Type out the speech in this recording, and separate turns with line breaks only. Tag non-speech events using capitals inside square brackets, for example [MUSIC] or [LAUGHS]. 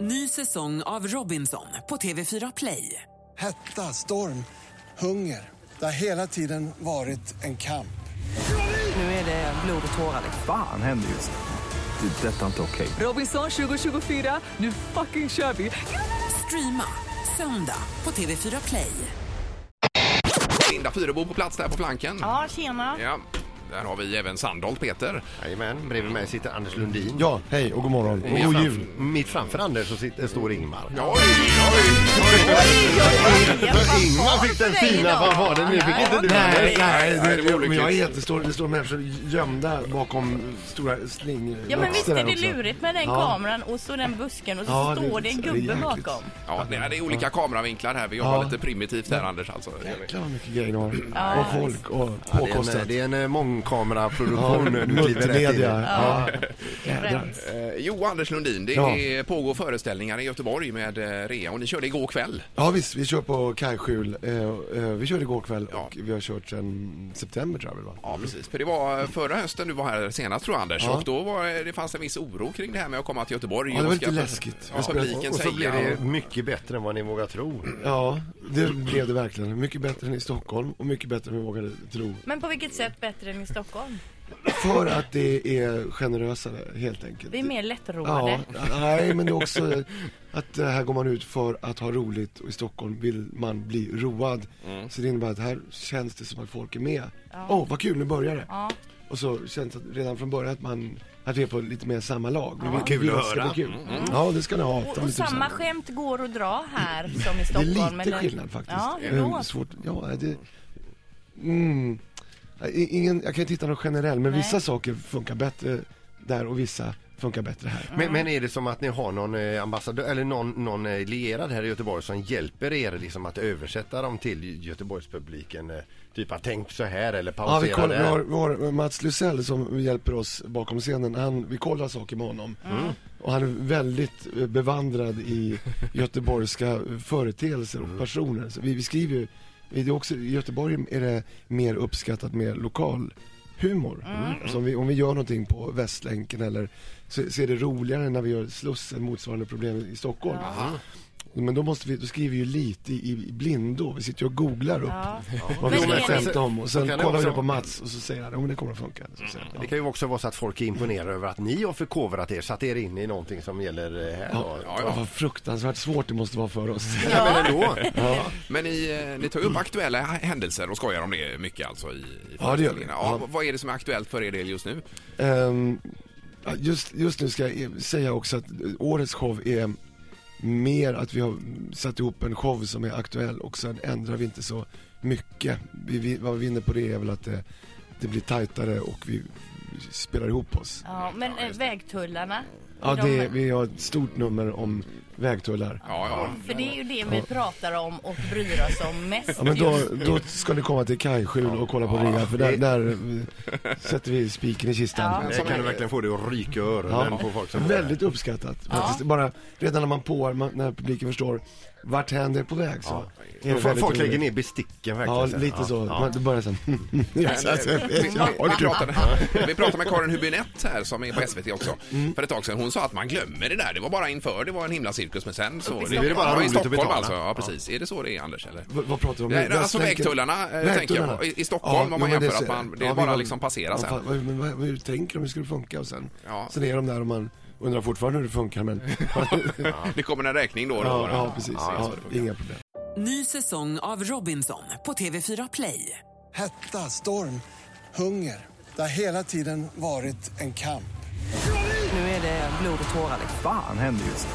Ny säsong av Robinson på TV4 Play.
Hetta, storm, hunger. Det har hela tiden varit en kamp.
Nu är det blod och tårar.
Fan händer just nu. Det. är Detta är inte okej.
Robinson 2024, nu fucking kör vi! Streama söndag på TV4 Play.
Linda Fyrebo på plats där på flanken.
Ja, tjena.
Ja, Där har vi även Sandholt, Peter.
Jajamän, bredvid mig sitter Anders Lundin.
Ja, hej och god morgon. Och god jul.
Mitt framför Anders så sitter, står Ingmar.
Oj, oj,
Ingmar fick den fina fanfaren, nu fick inte du
Nej,
Anders.
nej,
Nej, det var
det,
olyckligt.
men jag är jättestor. Det står människor gömda bakom stora slingor.
Ja men visst är det
också.
lurigt med den
Ja.
kameran och så den busken och så
Ja, det är
står det en
lite-
gubbe
det är jäkligt.
bakom.
Ja, det är- det är olika kameravinklar här. Vi jobbar
Ja.
lite primitivt här, Anders. Alltså.
Jäklar vad mycket grejer de har. och folk och
Ja, det, är
påkostat.
en, det är en eh, mångkameraproduktion. nu, du kliver rätt in.
Multimedia. Ja. Jädrar.
Eh, Jo, Anders Lundin, det
Ja.
är, pågår föreställningar i Göteborg med eh, rea och ni körde igår kväll.
Ja visst, vi kör på kajskjul. Eh, eh, Vi körde igår kväll och
Ja.
vi har kört sedan september tror jag väl, va?
Ja, precis. För det var eh, förra hösten du var här senast tror jag, Anders.
Ja.
Och då var, eh, det fanns en viss oro kring det här med att komma till Göteborg.
Ja, det var
Och ska-
lite läskigt.
Ja,
Jag spelade-
publiken
Och så blir
säger...
det mycket bättre än vad ni vågar tro.
Ja, det blev det verkligen. Mycket bättre än i Stockholm och mycket bättre än vi vågade tro.
Men på vilket sätt bättre än i Stockholm?
För att det är generösare helt enkelt.
Vi är mer lättroade.
Ja, nej, men det är också att eh, här går man ut för att ha roligt och i Stockholm vill man bli road.
Mm.
Så det innebär att här känns det som att folk är med. Åh, vad kul, nu börjar det.
Ja.
Och så känns det redan från början att man att vi är på lite mer samma lag. Det blir
Kul att
det ska
höra. Mm.
bli Kul. Ja, det ska ni ha.
Och,
Ta mig
och
tusan.
samma skämt går att dra här som i
Det är
Stockholm.
lite
men det-
skillnad faktiskt.
Ja, hur
Eh,
då?
Svårt. Ja, det... Mm. I- Ingen, jag kan inte hitta någon generell, men
Nej.
vissa saker funkar bättre där och vissa funkar bättre här.
Men, men är det som att ni har någon eh, ambassadör eller någon, någon eh, lierad här i Göteborg som hjälper er liksom att översätta dem till Göteborgspubliken? eh, Typ att tänk så här eller
Ja,
pausera
vi, kollar, vi, har,
där.
vi har Mats Lusell som hjälper oss bakom scenen. Han, vi kollar saker med honom. Och han är väldigt eh, bevandrad i göteborgska eh, företeelser och personer. Så vi, vi skriver ju, vi- det är också, i Göteborg är det mer uppskattat med lokal humor. Alltså om, vi, om vi gör någonting på Västlänken eller så, så är det roligare när vi gör Slussen, motsvarande problem i Stockholm. Men då, måste vi, då skriver vi ju lite i, i blindo, vi sitter ju och googlar upp
Ja.
vad vi
Men
ska
är det-
skämta om och
så
sen
kan det
kollar vi
också-
det på Mats och så säger han om det kommer att funka. Så säger han,
Det
ja.
kan ju också vara så att folk är imponerade över att ni har förkovrat er, satt er in i någonting som gäller eh, här. då.
Ja,
Ja,
ja.
vad fruktansvärt svårt det måste vara för oss.
Ja, men ändå.
Men ni, eh, ni tar ju upp aktuella händelser och skojar om det mycket alltså i, i
Ja, det gör vi.
föreställningarna. Ja,
Ja.
Vad är det som är aktuellt för er del just nu?
[LAUGHS] Ehm, ja, just, just nu ska jag eh, säga också att eh, årets show är mer att vi har mm, satt ihop en show som är aktuell och sen ändrar vi inte så mycket. Vi, vi, vad vi vinner på det är väl att det, det blir tajtare och vi spelar ihop oss.
Ja, men eh, vägtullarna.
Ja,
de-
det, vi har ett stort nummer om vägtullar.
Ja, ja.
För det är ju det vi pratar om och bryr oss om mest
Ja men då,
just nu.
då ska ni komma till Kajskjul och kolla på rea för där, där eh, sätter vi spiken i kistan.
Där kan du verkligen få det att ryka i öronen på folk som
Väldigt uppskattat faktiskt. Bara redan när man påar, man- när publiken förstår vart hän det är på väg så. är det
F-
väldigt
Folk lägger
roligt.
ner besticken
Ja,
verkligen.
lite så.
Ja.
Man, det börjar sen. [LAUGHS] ja, så- så- ja, det är
Vi
kul.
pratade, vi pratade med Karin Hübinette här som är på SVT också för ett tag sedan. Hon sa att man glömmer det där. Det var bara inför, det var en himla cirkus men sen så...
Nu är det bara
ja, i
roligt att
Stockholm
betala.
alltså. Ja, precis. Är det så det är Anders eller?
V- Vad pratar vi om
Nej,
nu?
alltså
Västlänken.
vägtullarna, eh, tänker jag
Vägtullarna.
på. I- i Stockholm, om
jo,
man
men
jämför
så-
att man- det är
vi
bara
var-
liksom passera sen.
fan, vad, men vad, hur tänker de hur skulle det funka och sen?
Ja.
Sen är de där och man undrar fortfarande hur det
[LAUGHS]
funkar men... [LAUGHS] ja,
Det kommer en räkning då. och då.
ja,
det
precis.
är så
Ja,
det funkar.
inga problem.
Ny säsong av Robinson på TV4 Play.
Hetta, storm, hunger. Det har hela tiden varit en kamp.
Nu är det blod och tårar.
Fan händer just nu.